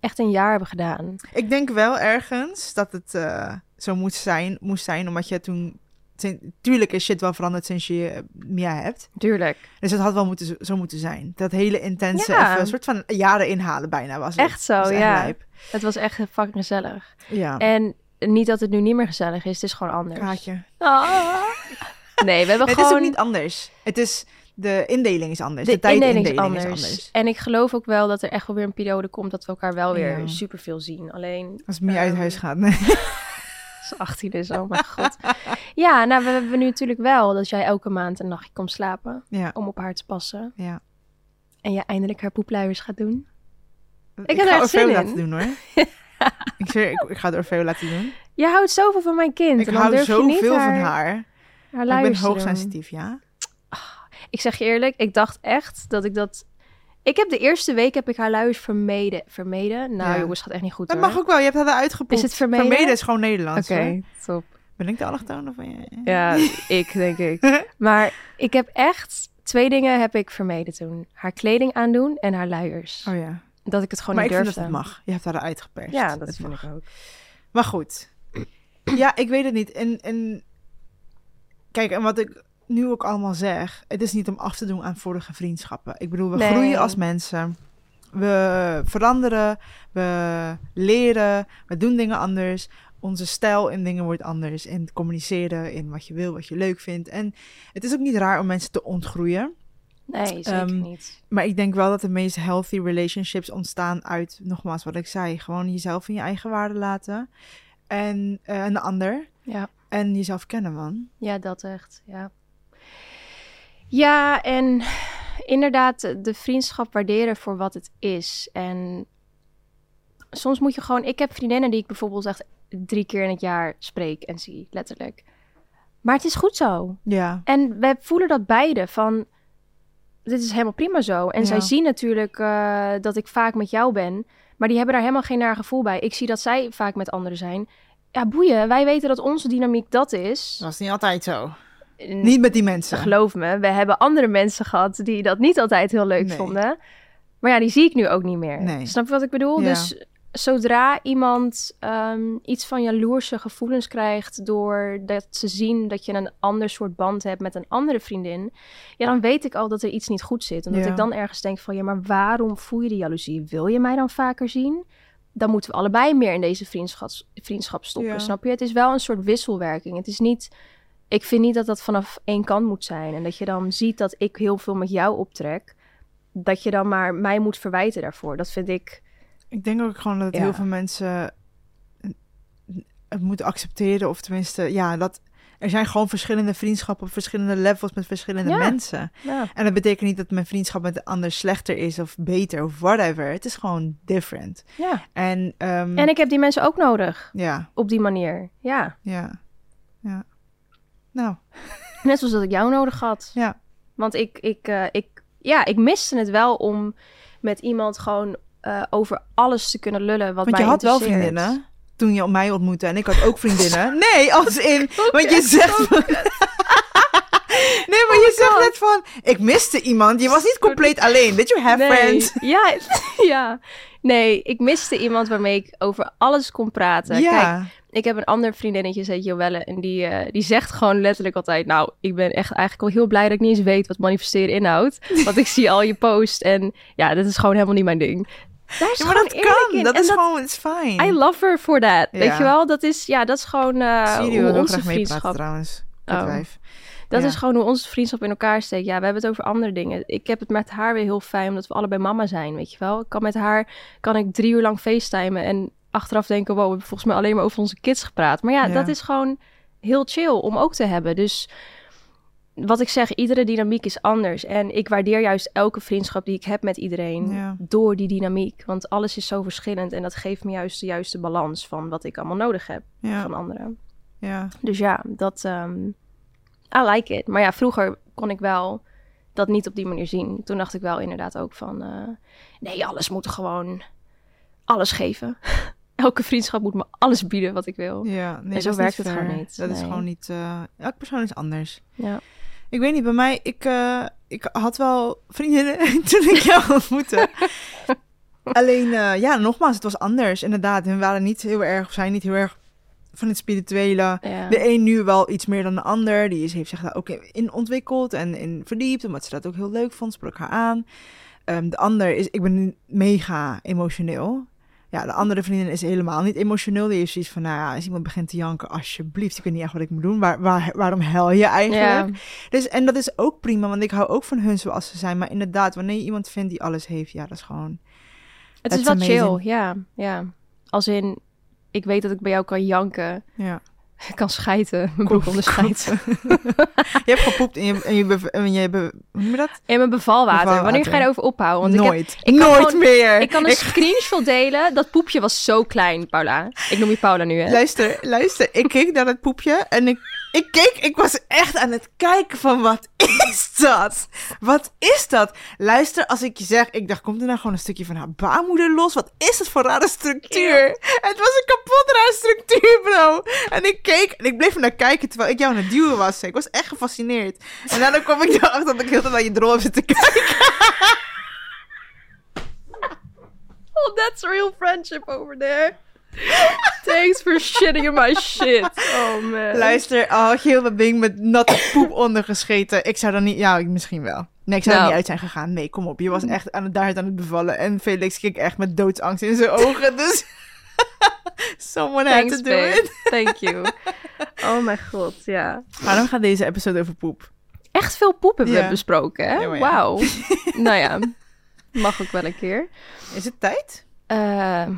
echt een jaar hebben gedaan. Ik denk wel ergens dat het eh, zo moet zijn, moest zijn, omdat je toen... sin- Tuurlijk is shit wel veranderd sinds je eh, Mia hebt. Tuurlijk. Dus het had wel moeten, zo- zo moeten zijn. Dat hele intense, Ja. even een soort van jaren inhalen bijna was het. Echt zo, Dat is echt ja. lijp. Het was echt fucking gezellig. Ja, En niet dat het nu niet meer gezellig is, het is gewoon anders. kaartje. Ah. Nee, we hebben Het is gewoon... ook niet anders. Het is, de indeling is anders. De, de tijdindeling indeling is is anders. anders. En ik geloof ook wel dat er echt wel weer een periode komt dat we elkaar wel weer Ja. superveel zien. Alleen Als Mia uit Ehm, huis gaat. Nee. als 18 is, oh mijn god. Ja, nou, we hebben nu natuurlijk wel dat jij elke maand een nachtje komt slapen Ja, om op haar te passen. ja. En jij eindelijk haar poepluiers gaat doen. Ik, heb ga er echt Orfeo zin laten in. doen hoor. ik zweer, ik, ik ga het Orfeo laten doen. Jij houdt zoveel van mijn kind. Ik en dan hou durf je niet zoveel haar, van haar. haar Ik ben luiers te doen. hoogsensitief, ja. Ik zeg je eerlijk, ik dacht echt dat ik dat... Ik heb de eerste week heb ik haar luiers vermeden. Vermeden? Nou Ja. jongens, gaat echt niet goed Dat hoor. mag ook wel, je hebt haar uitgepoept. Is het vermeden? is gewoon Nederlands. Oké, hoor. top. Ben ik de allochtone van je? Ja, ik denk ik. Maar ik heb echt twee dingen heb ik vermeden toen. Haar kleding aandoen en haar luiers. Oh ja. Dat ik het gewoon maar ik niet vind dat durfde. het mag. Je hebt haar uitgeperst. Ja, dat Het vind mag. ik ook. Maar goed. Ja, ik weet het niet. En, en kijk, en wat ik nu ook allemaal zeg, het is niet om af te doen aan vorige vriendschappen. Ik bedoel, we Nee. groeien als mensen. We veranderen, we leren, we doen dingen anders. Onze stijl in dingen wordt anders. In het communiceren, in wat je wil, wat je leuk vindt. En het is ook niet raar om mensen te ontgroeien. Nee, zeker Ehm, niet. Maar ik denk wel dat de meest healthy relationships ontstaan uit, nogmaals wat ik zei, gewoon jezelf in je eigen waarde laten. En eh, een ander. Ja. En jezelf kennen, man. ja, dat echt. Ja. ja, en inderdaad de vriendschap waarderen voor wat het is. En soms moet je gewoon... Ik heb vriendinnen die ik bijvoorbeeld echt drie keer in het jaar spreek en zie, letterlijk. Maar het is goed zo. Ja. En wij voelen dat beide van. Dit is helemaal prima zo. En Ja. zij zien natuurlijk eh, dat ik vaak met jou ben. Maar die hebben daar helemaal geen naar gevoel bij. Ik zie dat zij vaak met anderen zijn. Ja, boeien. Wij weten dat onze dynamiek dat is. was niet altijd zo. En Niet met die mensen. Geloof me, we hebben andere mensen gehad die dat niet altijd heel leuk Nee. vonden. Maar ja, die zie ik nu ook niet meer. Nee. Snap je wat ik bedoel? Ja. Dus zodra iemand ehm, iets van jaloerse gevoelens krijgt doordat ze zien dat je een ander soort band hebt met een andere vriendin, ja, dan weet ik al dat er iets niet goed zit. Omdat Ja. ik dan ergens denk van, ja, maar waarom voel je die jaloezie? Wil je mij dan vaker zien? Dan moeten we allebei meer in deze vriendschap, vriendschap stoppen. Ja. Snap je? Het is wel een soort wisselwerking. Het is niet ik vind niet dat dat vanaf één kant moet zijn. En dat je dan ziet dat ik heel veel met jou optrek. Dat je dan maar mij moet verwijten daarvoor. Dat vind ik. Ik denk ook gewoon dat Ja. heel veel mensen eh, het moeten accepteren. Of tenminste, ja, dat er zijn gewoon verschillende vriendschappen op verschillende levels met verschillende Ja. mensen. En dat betekent niet dat mijn vriendschap met de ander slechter is of beter of whatever. Het is gewoon different. Ja. En, ehm, En ik heb die mensen ook nodig. ja, Op die manier. Ja. ja, ja. Nou, Net zoals dat ik jou nodig had. Ja. Want ik, ik, eh, ik, ja, ik miste het wel om met iemand gewoon eh, over alles te kunnen lullen. Wat want mij je had wel interesseert. vriendinnen toen je mij ontmoette en ik had ook vriendinnen. Nee, als in, want je het, zegt... Nee, maar Oh je zegt net van, ik miste iemand. Je was niet compleet alleen. Did you have Nee. friends? Ja, ja. Nee, ik miste iemand waarmee ik over alles kon praten. Kijk, Ja, ik heb een ander vriendinnetje, ze heet Joelle. En die, eh, die zegt gewoon letterlijk altijd... Nou, ik ben echt eigenlijk wel heel blij dat ik niet eens weet wat manifesteren inhoudt. Want ik zie al je post en ja, dat is gewoon helemaal niet mijn ding. Daar is ja maar gewoon dat eerlijk kan. in. Dat En is gewoon, it's fine. I love her for that. Weet Ja. je wel? Dat is, ja, dat is gewoon eh Siri hoe wil ook onze graag meepraten vriendschap... trouwens. Oh. Kut wijf. Dat Ja. is gewoon hoe onze vriendschap in elkaar steekt. Ja, we hebben het over andere dingen. Ik heb het met haar weer heel fijn, omdat we allebei mama zijn, weet je wel. Ik kan met haar kan ik drie uur lang facetimen en achteraf denken... wow, we hebben volgens mij alleen maar over onze kids gepraat. Maar ja, Ja. dat is gewoon heel chill om ook te hebben. Dus wat ik zeg, iedere dynamiek is anders. En ik waardeer juist elke vriendschap die ik heb met iedereen Ja. door die dynamiek. Want alles is zo verschillend en dat geeft me juist de juiste balans... van wat ik allemaal nodig heb Ja, van anderen. ja. Dus ja, dat. ehm I like it. Maar ja, vroeger kon ik wel dat niet op die manier zien. Toen dacht ik wel inderdaad ook van. eh, nee, alles moet gewoon. Alles geven. Elke vriendschap moet me alles bieden wat ik wil. Ja, nee, En zo dat is werkt niet het fair. gewoon niet, Dat is nee. gewoon niet. eh, elk persoon is anders. Ja. Ik weet niet, bij mij, ik, eh, ik had wel vriendinnen toen ik jou ontmoette. Alleen, eh, ja, nogmaals, het was anders. Inderdaad, hun waren niet heel erg, of zijn niet heel erg van het spirituele. Ja. De een nu wel iets meer dan de ander. Die is, heeft zich daar ook in ontwikkeld en in verdiept. Omdat ze dat ook heel leuk vond, sprak haar aan. Ehm, de ander is, ik ben mega emotioneel. Ja, de andere vriendin is helemaal niet emotioneel. Die is zoiets van, nou ja, als iemand begint te janken, alsjeblieft. Ik weet niet echt wat ik moet doen. Waar, waar, waarom hel je eigenlijk? Ja. Dus, en dat is ook prima, want ik hou ook van hun zoals ze zijn. Maar inderdaad, wanneer je iemand vindt die alles heeft, ja, dat is gewoon... Het is That's wel amazing. chill, ja, ja. Als in, ik weet dat ik bij jou kan janken, Ja. kan schijten, mijn broek onder schijten. Je hebt gepoept en je, en je, bev- en je be- hoe noem je dat? En mijn bevalwater. Bevalwater. Wanneer ga je erover ophouden? Want ik, Nooit. ik kan Nooit gewoon- meer. heb, ik kan dus een screenshot delen. Dat poepje was zo klein, Paula. Ik noem je Paula nu, hè? Luister, luister. Ik keek naar het poepje en ik, ik keek, ik was echt aan het kijken van wat is dat? Wat is dat? Luister, als ik je zeg, ik dacht, komt er nou gewoon een stukje van haar baarmoeder los? Wat is dat voor rare structuur? Het was een kapot raar structuur, bro. En ik keek en ik bleef er naar kijken terwijl ik jou aan het duwen was. Ik was echt gefascineerd. En daarna kwam ik erachter dat ik heel de tijd naar je drol heb zitten kijken. Oh, that's real friendship over there. Thanks for shitting in my shit. Oh man. Luister, oh, heel dat ding met natte poep ondergescheten. Ik zou dan niet, ja, ik- misschien wel. Nee, ik zou er Nou. Mm. niet uit zijn gegaan. Nee, kom op. Je was echt aan het, daaruit aan het bevallen. En Felix keek echt met doodsangst in zijn ogen. Dus someone had Thanks, to do it. babe. Thank you. Oh mijn god, ja. Waarom gaat deze episode over poep? Echt veel poep hebben we Ja. besproken, hè? Ja, maar ja. Wauw. nou ja, mag ook wel een keer. Is het tijd? Eh,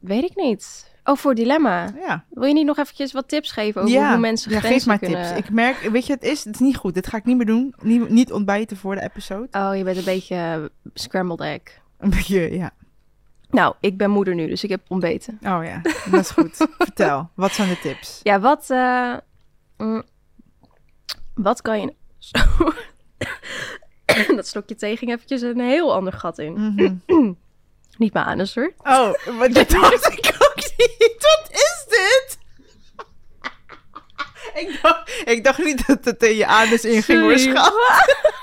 weet ik niet. Oh, voor dilemma. Ja. Wil je niet nog eventjes wat tips geven over hoe mensen ja, grenzen geef maar kunnen... tips. Ik merk, weet je, het is, het is niet goed. Dit ga ik niet meer doen. Niet, niet ontbijten voor de episode. Oh, je bent een beetje eh, scrambled egg. Een beetje, ja. Nou, ik ben moeder nu, dus ik heb ontbeten. Oh ja, dat is goed. Vertel, wat zijn de tips? Ja, wat... eh, mm, wat kan je... Zo. dat slokje thee ging eventjes een heel ander gat in. Mhm. Niet mijn anus hoor. Oh, maar dit dacht ik ook niet. Wat is dit? Ik dacht, ik dacht niet dat het in je anus inging hoor, Sorry. schat.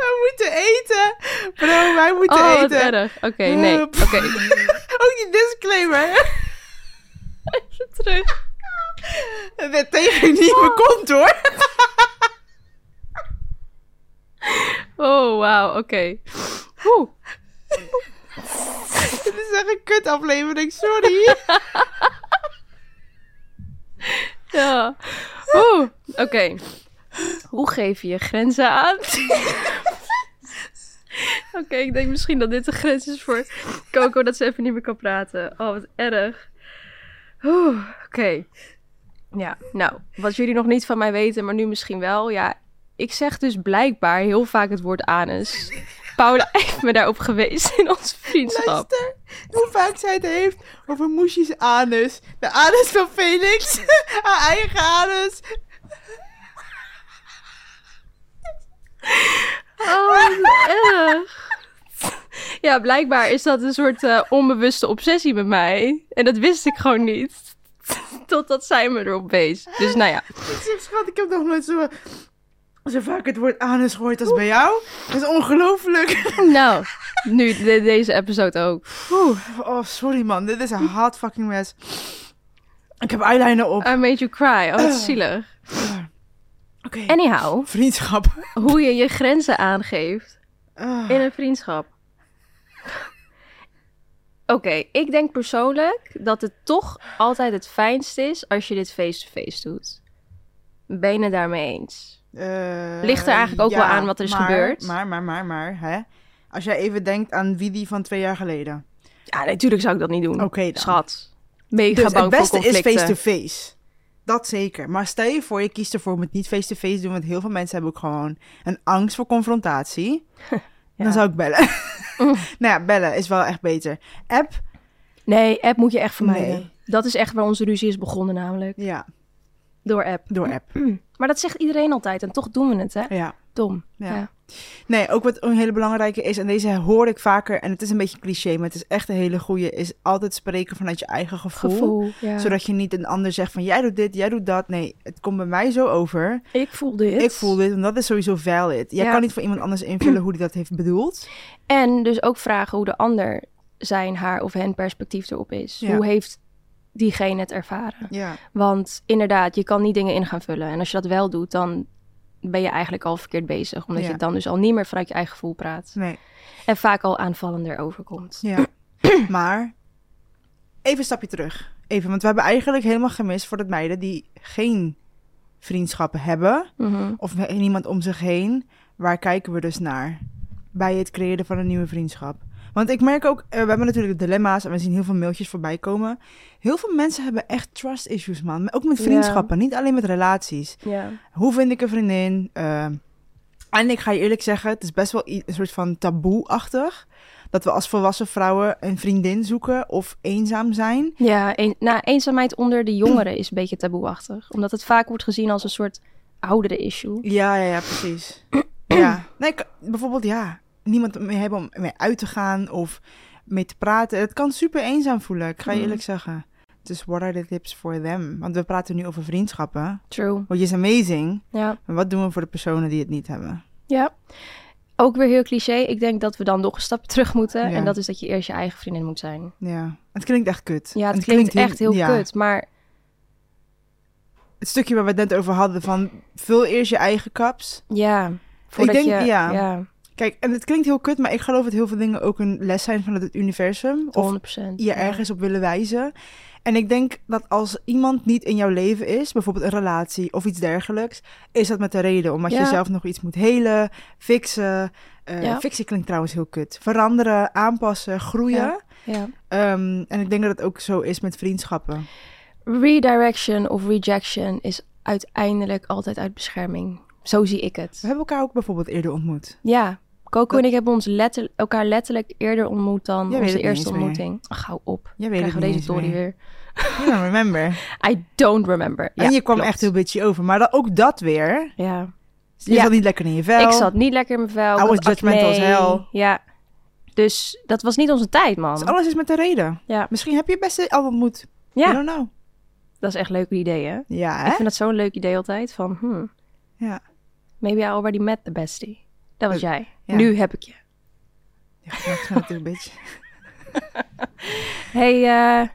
Wij moeten eten. Bro, wij moeten Oh, wat eten. erg. Oké, nee. Hup. Oké, Ook die disclaimer. even terug. De thee ging niet in mijn kont hoor. Oh, wauw. Oké. Oeh. Dit is echt een kut aflevering, sorry. Ja. Oeh. Oké. Hoe geef je je grenzen aan? Oké, ik denk misschien dat dit de grens is voor Coco, dat ze even niet meer kan praten. Oh, wat erg. Oeh, Oké. Ja, nou, wat jullie nog niet van mij weten, maar nu misschien wel. Ja, ik zeg dus blijkbaar heel vaak het woord anus. Paula heeft me daarop geweest in onze vriendschap. Luister, hoe vaak zij het heeft over Moesjes anus. De anus van Felix. Haar eigen anus. Oh, wat erg. Ja, blijkbaar is dat een soort eh, onbewuste obsessie bij mij. En dat wist ik gewoon niet. Totdat zij me erop wees. Dus nou ja. Ik zeg, schat, ik heb nog nooit zo, zo vaak het woord anus gehoord als bij jou. Dat is ongelooflijk. Nou, nu de- deze episode ook. Oeh, Oh, sorry man, dit is een hard fucking mess. Ik heb eyeliner op. Oké. I made you cry. Oh, wat zielig. Anyhow, Vriendschap. hoe je je grenzen aangeeft Ah, in een vriendschap. Oké, ik denk persoonlijk dat het toch altijd het fijnst is als je dit face-to-face doet. Ben je het daarmee eens? eh, Ligt er eigenlijk ook ja, wel aan wat er is maar, gebeurd? Maar, maar, maar, maar, hè. Als jij even denkt aan Widi van twee jaar geleden. Ja, natuurlijk zou ik dat niet doen. Oké dan. Schat. Mega Dus bang het beste voor is conflicten. face-to-face. Dat zeker. Maar stel je voor, je kiest ervoor om het niet face-to-face te doen. Want heel veel mensen hebben ook gewoon een angst voor confrontatie. Dan zou ik bellen. nou ja, bellen is wel echt beter. App? Nee, app moet je echt vermijden. Nee. Dat is echt waar onze ruzie is begonnen namelijk. Ja, Door app. door app. Maar dat zegt iedereen altijd en toch doen we het, hè? Ja. Dom. Ja. Ja. Nee, ook wat een hele belangrijke is, en deze hoor ik vaker, en het is een beetje cliché, maar het is echt een hele goede, is altijd spreken vanuit je eigen gevoel. Gevoel, ja. Zodat je niet een ander zegt van jij doet dit, jij doet dat. Nee, het komt bij mij zo over. Ik voel dit. Ik voel dit, en dat is sowieso valid. Jij Ja. kan niet voor iemand anders invullen hoe die dat heeft bedoeld. En dus ook vragen hoe de ander zijn, haar of hen perspectief erop is. Ja. Hoe heeft diegene het ervaren? Ja, Want inderdaad, je kan niet dingen in gaan vullen. En als je dat wel doet, dan ben je eigenlijk al verkeerd bezig. Omdat Ja. je dan dus al niet meer vanuit je eigen gevoel praat. nee. En vaak al aanvallender overkomt. Ja. maar even een stapje terug. Even, want we hebben eigenlijk helemaal gemist voor dat meiden die geen vriendschappen hebben. Mhm. of he- niemand om zich heen, waar kijken we dus naar bij het creëren van een nieuwe vriendschap? Want ik merk ook, eh, we hebben natuurlijk dilemma's en we zien heel veel mailtjes voorbij komen. Heel veel mensen hebben echt trust issues, man. Maar Ook met Ja. vriendschappen, niet alleen met relaties. Ja. Hoe vind ik een vriendin? Eh, en ik ga je eerlijk zeggen, het is best wel i- een soort van taboe-achtig. Dat we als volwassen vrouwen een vriendin zoeken of eenzaam zijn. Ja, een, nou, eenzaamheid onder de jongeren is een beetje taboeachtig. Omdat het vaak wordt gezien als een soort oudere issue. Ja, ja, ja, precies. ja. Nee, ik- bijvoorbeeld, ja, niemand mee hebben om mee uit te gaan of mee te praten. Het kan super eenzaam voelen, ik ga je Mm. eerlijk zeggen. Dus what are the tips for them? Want we praten nu over vriendschappen, True. which is amazing. Ja. Maar wat doen we voor de personen die het niet hebben? ja. Ook weer heel cliché. Ik denk dat we dan nog een stap terug moeten. Ja. En dat is dat je eerst je eigen vriendin moet zijn. Ja, het klinkt echt kut. Ja, het, klinkt, echt heel ja. kut. Maar Het stukje waar we het net over hadden van vul eerst je eigen kaps. ja, voordat denk- je... ja. ja Kijk, en het klinkt heel kut, maar ik geloof dat heel veel dingen ook een les zijn vanuit het universum. Of 100%. je ergens op willen wijzen. En ik denk dat als iemand niet in jouw leven is, bijvoorbeeld een relatie of iets dergelijks, is dat met de reden. Omdat je Ja. zelf nog iets moet helen, fixen. Eh, Ja. Fixen klinkt trouwens heel kut. Veranderen, aanpassen, groeien. Ja. Ja. Ehm, en ik denk dat het ook zo is met vriendschappen. Redirection of rejection is uiteindelijk altijd uit bescherming. Zo zie ik het. We hebben elkaar ook bijvoorbeeld eerder ontmoet. Ja, Coco Dat- en ik hebben ons letter, elkaar letterlijk eerder ontmoet dan Jij weet onze het niet eerste eens meer. ontmoeting. Ach, hou op. Jij weet Krijgen het we niet deze eens story meer. weer. You don't remember. I don't remember. Ja, en je kwam klopt. echt heel bitchy over. Maar dan ook dat weer. Ja. Je Ja. zat niet lekker in je vel. Ik zat niet lekker in mijn vel. ik I was had acne. judgmental as hell. Ja. Dus dat was niet onze tijd, man. Dus alles is met de reden. Ja. Misschien heb je het beste al ontmoet. I Ja, don't know. dat is echt een leuk idee, hè? Ja, hè? Ik vind dat zo'n leuk idee altijd. Van, hmm, Ja. maybe I already met the bestie. Dat was Ja. jij. Nu heb ik je. Ja, ik snap het natuurlijk een beetje. Hey, eh,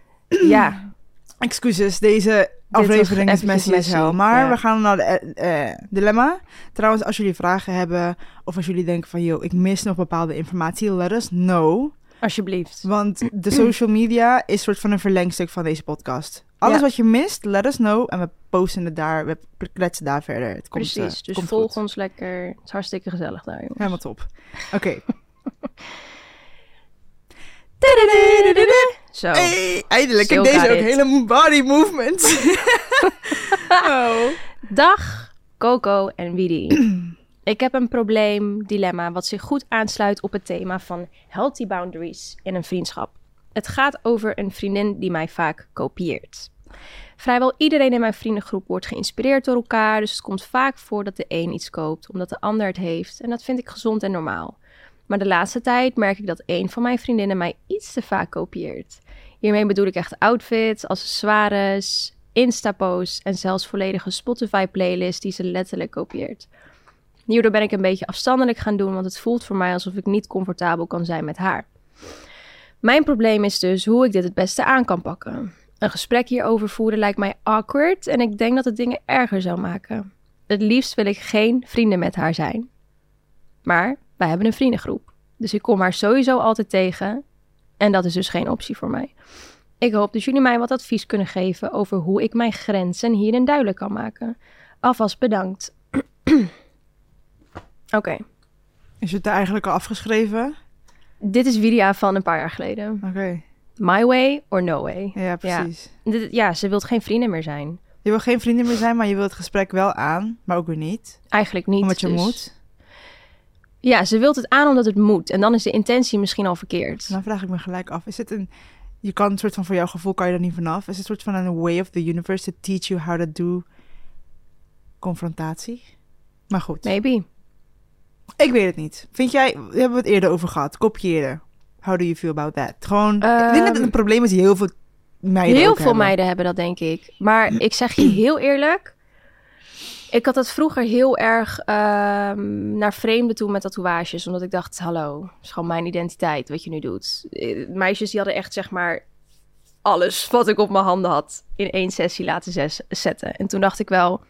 ja. Excuses, deze was aflevering is eventjes messy as hell. messy, Maar ja. we gaan naar de eh, eh, dilemma. Trouwens, als jullie vragen hebben of als jullie denken van... ...joh, ik mis nog bepaalde informatie, let us know. Alsjeblieft. Want de social media is soort van een verlengstuk van deze podcast. Alles Ja. wat je mist, let us know. En we posten het daar, we kletsen daar verder. Het komt, Precies. eh, dus komt volg goed. ons lekker. Het is hartstikke gezellig daar, jongens. Helemaal top. Oké. Zo. Hey, eindelijk. Kijk, Zo deze gaat ook. dit. Hele body movement. oh. Dag, Coco en Widi. Ik heb een probleem, dilemma, wat zich goed aansluit op het thema van healthy boundaries in een vriendschap. Het gaat over een vriendin die mij vaak kopieert. Vrijwel iedereen in mijn vriendengroep wordt geïnspireerd door elkaar, dus het komt vaak voor dat de een iets koopt omdat de ander het heeft en dat vind ik gezond en normaal. Maar de laatste tijd merk ik dat een van mijn vriendinnen mij iets te vaak kopieert. Hiermee bedoel ik echt outfits, accessoires, Insta-posts en zelfs volledige Spotify-playlist die ze letterlijk kopieert. Hierdoor ben ik een beetje afstandelijk gaan doen, want het voelt voor mij alsof ik niet comfortabel kan zijn met haar. Mijn probleem is dus hoe ik dit het beste aan kan pakken. Een gesprek hierover voeren lijkt mij awkward en ik denk dat het dingen erger zou maken. Het liefst wil ik geen vrienden met haar zijn. Maar wij hebben een vriendengroep, dus ik kom haar sowieso altijd tegen en dat is dus geen optie voor mij. Ik hoop dat jullie mij wat advies kunnen geven over hoe ik mijn grenzen hierin duidelijk kan maken. Alvast bedankt. Oké, Is het daar eigenlijk al afgeschreven? dit is Widia van een paar jaar geleden. Oké. My way or no way. Ja, precies. Dit- ja, ze wil geen vrienden meer zijn. Je wil geen vrienden meer zijn, maar je wil het gesprek wel aan, maar ook weer niet. Eigenlijk niet. omdat je dus- moet. Ja, ze wilt het aan omdat het moet. En dan is de intentie misschien al verkeerd. En dan vraag ik me gelijk af, is het een... Je kan een soort van, voor jouw gevoel kan je er niet vanaf. Is het een soort van een way of the universe to teach you how to do confrontatie? Maar goed, Maybe. Ik weet het niet. Vind jij, daar hebben we het eerder over gehad, kopiëren. How do you feel about that? Gewoon, ik denk dat het Ehm, een probleem is die heel veel meiden Heel ook veel hebben. meiden hebben dat, denk ik. Maar ik zeg je heel eerlijk. Ik had dat vroeger heel erg ehm, naar vreemden toe met tatoeages. Omdat ik dacht, hallo, het is gewoon mijn identiteit wat je nu doet. Eh, Meisjes die hadden echt, zeg maar, alles wat ik op mijn handen had in één sessie laten zes- zetten. En toen dacht ik wel,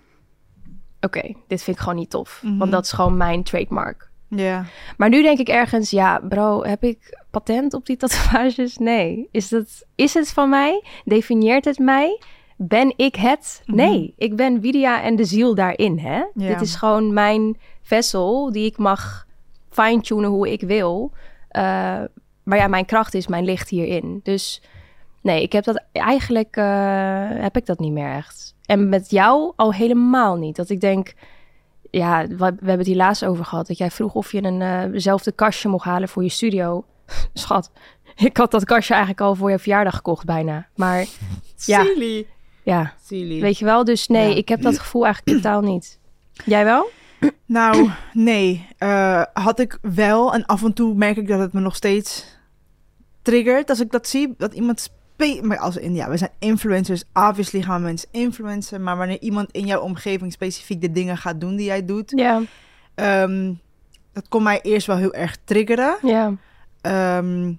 oké, dit vind ik gewoon niet tof. Mhm. Want dat is gewoon mijn trademark. Ja. Maar nu denk ik ergens, ja, bro, heb ik patent op die tatoeages? Nee. Is, dat, is het van mij? Definieert het mij? Ben ik het? Nee, ik ben Widia en de ziel daarin, hè? Ja. Dit is gewoon mijn vessel die ik mag fine-tunen hoe ik wil. Eh, maar ja, mijn kracht is mijn licht hierin. Dus nee, ik heb dat eigenlijk eh, heb ik dat niet meer echt. En met jou al helemaal niet. Dat ik denk, ja, we, we hebben het hier laatst over gehad. Dat jij vroeg of je een eenzelfde kastje mocht halen voor je studio. Schat, ik had dat kastje eigenlijk al voor je verjaardag gekocht bijna. Maar Ja. Silly. ja, Silly. weet je wel. Dus nee, Ja. ik heb dat gevoel eigenlijk totaal niet. Jij wel? Nou, nee. Eh, had ik wel. En af en toe merk ik dat het me nog steeds triggert. Als ik dat zie, dat iemand... spe- Maar als in, ja, we zijn influencers. Obviously gaan mensen influencen. Maar wanneer iemand in jouw omgeving specifiek de dingen gaat doen die jij doet... Ja, ehm, dat kon mij eerst wel heel erg triggeren. ja. Ehm,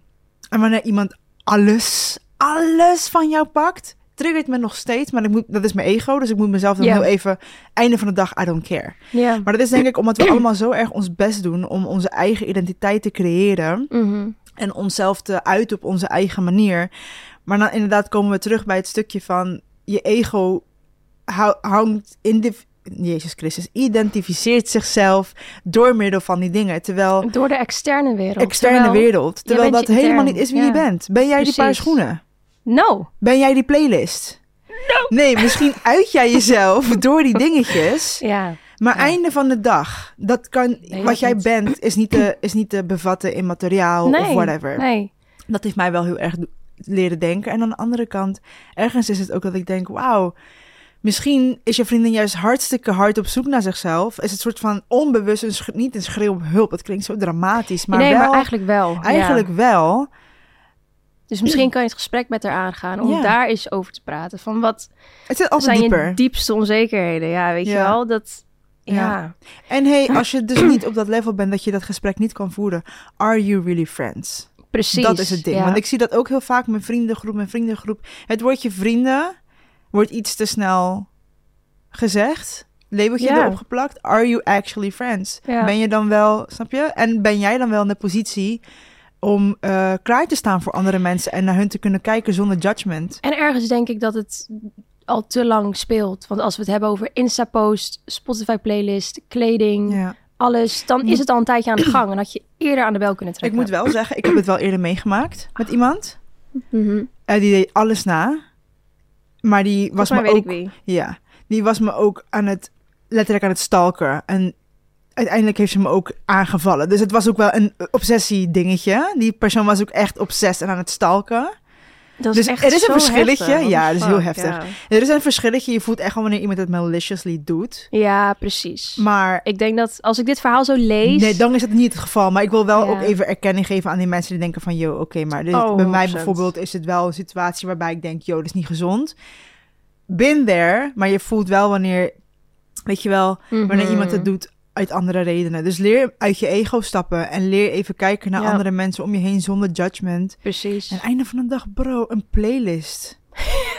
en wanneer iemand alles, alles van jou pakt... triggert me nog steeds. Maar ik moet, dat is mijn ego. Dus ik moet mezelf dan Ja. heel even... Einde van de dag, I don't care. Ja. Maar dat is denk ik omdat we allemaal zo erg ons best doen om onze eigen identiteit te creëren Mhm. en onszelf te uiten op onze eigen manier. Maar dan inderdaad komen we terug bij het stukje van je ego hou- hangt in de. Jezus Christus, identificeert zichzelf door middel van die dingen. Terwijl Door de externe wereld. externe Terwijl- wereld, terwijl bent dat je helemaal intern, niet is wie ja. je bent. Ben jij die paar Precies. schoenen? Nou, Ben jij die playlist? Nee, misschien uit jij jezelf door die dingetjes. ja. Maar Ja. einde van de dag, dat kan, Nee, wat dat jij niet. bent, is niet, te, is niet te bevatten in materiaal of Nee, Oh, whatever. Nee. Dat heeft mij wel heel erg do- leren denken. En aan de andere kant, ergens is het ook dat ik denk, wauw, misschien is je vriendin juist hartstikke hard op zoek naar zichzelf. Is het soort van onbewust, een sch- niet een schreeuw om hulp, het klinkt zo dramatisch, maar nee, wel, maar eigenlijk wel. ja. eigenlijk wel. Dus misschien kan je het gesprek met haar aangaan om Ja. daar eens over te praten. Van wat Het zit altijd zijn dieper. je diepste onzekerheden. Ja, weet je Ja. wel. Dat, ja. Ja. en hey, als je dus niet op dat level bent dat je dat gesprek niet kan voeren, are you really friends? precies. Dat is het ding. Ja. Want ik zie dat ook heel vaak, mijn vriendengroep, mijn vriendengroep. Het woordje vrienden wordt iets te snel gezegd. Labeltje Ja. erop geplakt. Are you actually friends? Ja. Ben je dan wel, snap je? En ben jij dan wel in de positie om eh, klaar te staan voor andere mensen en naar hun te kunnen kijken zonder judgment? En ergens denk ik dat het al te lang speelt. Want als we het hebben over Insta-post, Spotify-playlist, kleding, Ja. alles. Dan is het al een tijdje aan de gang en had je eerder aan de bel kunnen Ik trekken. moet wel zeggen, ik heb het wel eerder meegemaakt met iemand. Mhm. Eh, die deed alles na. Maar die was Volgens mij maar weet ook ik wie. Ja, die was me ook aan het, letterlijk aan het stalken. En uiteindelijk heeft ze me ook aangevallen. Dus het was ook wel een obsessie dingetje. Die persoon was ook echt obsess en aan het stalken. Dat Dus echt er is een zo verschilletje. heftig. What Ja, the dat is heel fuck, heftig. Ja, Er is een verschilletje. Je voelt echt wel wanneer iemand het maliciously doet. Ja, precies. Maar ik denk dat als ik dit verhaal zo lees... nee, dan is het niet het geval. Maar ik wil wel Ja. ook even erkenning geven aan die mensen die denken van... yo, oké, maar dit, Oh, bij mij 100%. bijvoorbeeld is het wel een situatie waarbij ik denk... yo, dit is niet gezond. Been there, maar je voelt wel wanneer... Weet je wel, Mhm. wanneer iemand het doet uit andere redenen. Dus leer uit je ego stappen en leer even kijken naar Ja. andere mensen om je heen zonder judgment. Precies. En einde van de dag, bro, een playlist.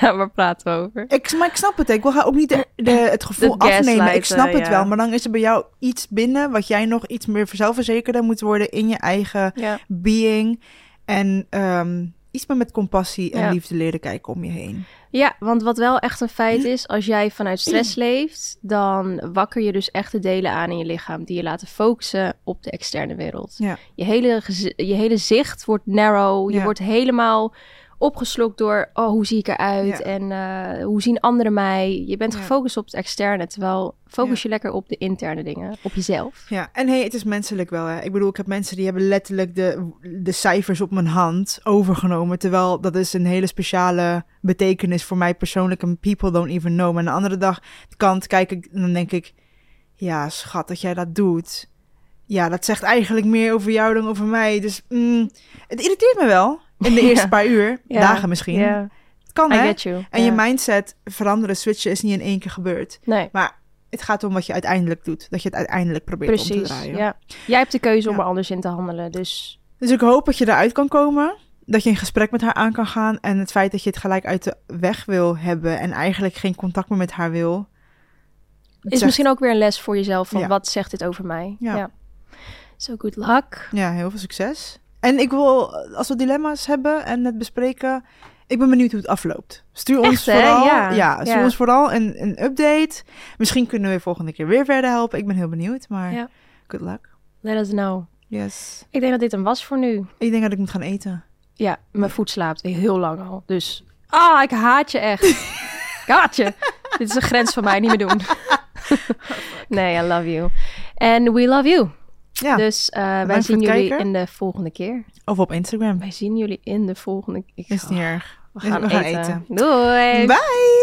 Ja, waar praten we over? Ik, maar ik snap het, hè. ik wil haar ook niet de, de- het gevoel Dat afnemen. Ik gaslighten, snap het ja. wel, maar dan is er bij jou iets binnen wat jij nog iets meer zelfverzekerder moet worden in je eigen Ja. being. En ehm, iets meer met compassie en Ja. liefde leren kijken om je heen. Ja, want wat wel echt een feit is, als jij vanuit stress leeft, dan wakker je dus echt de delen aan in je lichaam die je laten focussen op de externe wereld. Ja. Je, hele gez- je hele zicht wordt narrow, je Ja. wordt helemaal opgeslokt door, oh, hoe zie ik eruit Ja. en eh, hoe zien anderen mij. Je bent Ja. gefocust op het externe, terwijl focus je lekker op de interne dingen, op jezelf. Ja, en hey, het is menselijk wel. Hè. Ik bedoel, ik heb mensen die hebben letterlijk de, de cijfers op mijn hand overgenomen. Terwijl dat is een hele speciale betekenis voor mij persoonlijk. En people don't even know. Maar aan de andere dag, kant kijk ik, en dan denk ik... Ja, schat, dat jij dat doet. Ja, dat zegt eigenlijk meer over jou dan over mij. Dus mm, het irriteert me wel. In de eerste Ja. paar uur, Ja. dagen misschien. Ja, Het kan I hè. get you. En Ja. je mindset veranderen, switchen is niet in één keer gebeurd. Nee, Het gaat om wat je uiteindelijk doet. Dat je het uiteindelijk probeert om te precies. draaien. Ja. Jij hebt de keuze om Ja. er anders in te handelen, dus... Dus ik hoop dat je eruit kan komen. Dat je een gesprek met haar aan kan gaan. En het feit dat je het gelijk uit de weg wil hebben. En eigenlijk geen contact meer met haar wil. Is Zegt- misschien ook weer een les voor jezelf van Ja. wat zegt dit over mij? Ja. So good luck. Ja, heel veel succes. En ik wil, als we dilemma's hebben en het bespreken, ik ben benieuwd hoe het afloopt. Stuur ons Echt, hè? vooral, Ja. stuur Ja. ons vooral een, een update. Misschien kunnen we volgende keer weer verder helpen. Ik ben heel benieuwd, maar Ja. good luck. Let us know. Yes. Ik denk dat dit hem was voor nu. Ik denk dat ik moet gaan eten. Ja, mijn voet slaapt heel lang al. Dus, ah, ik haat je echt. ik haat je. Dit is een grens van mij, niet meer doen. nee, I love you. And we love you. Ja, Dus eh, wij voor zien het jullie kijken. in de volgende keer. of op Instagram. Wij zien jullie in de volgende keer. Is niet erg. we, we gaan eten. Doei. Bye!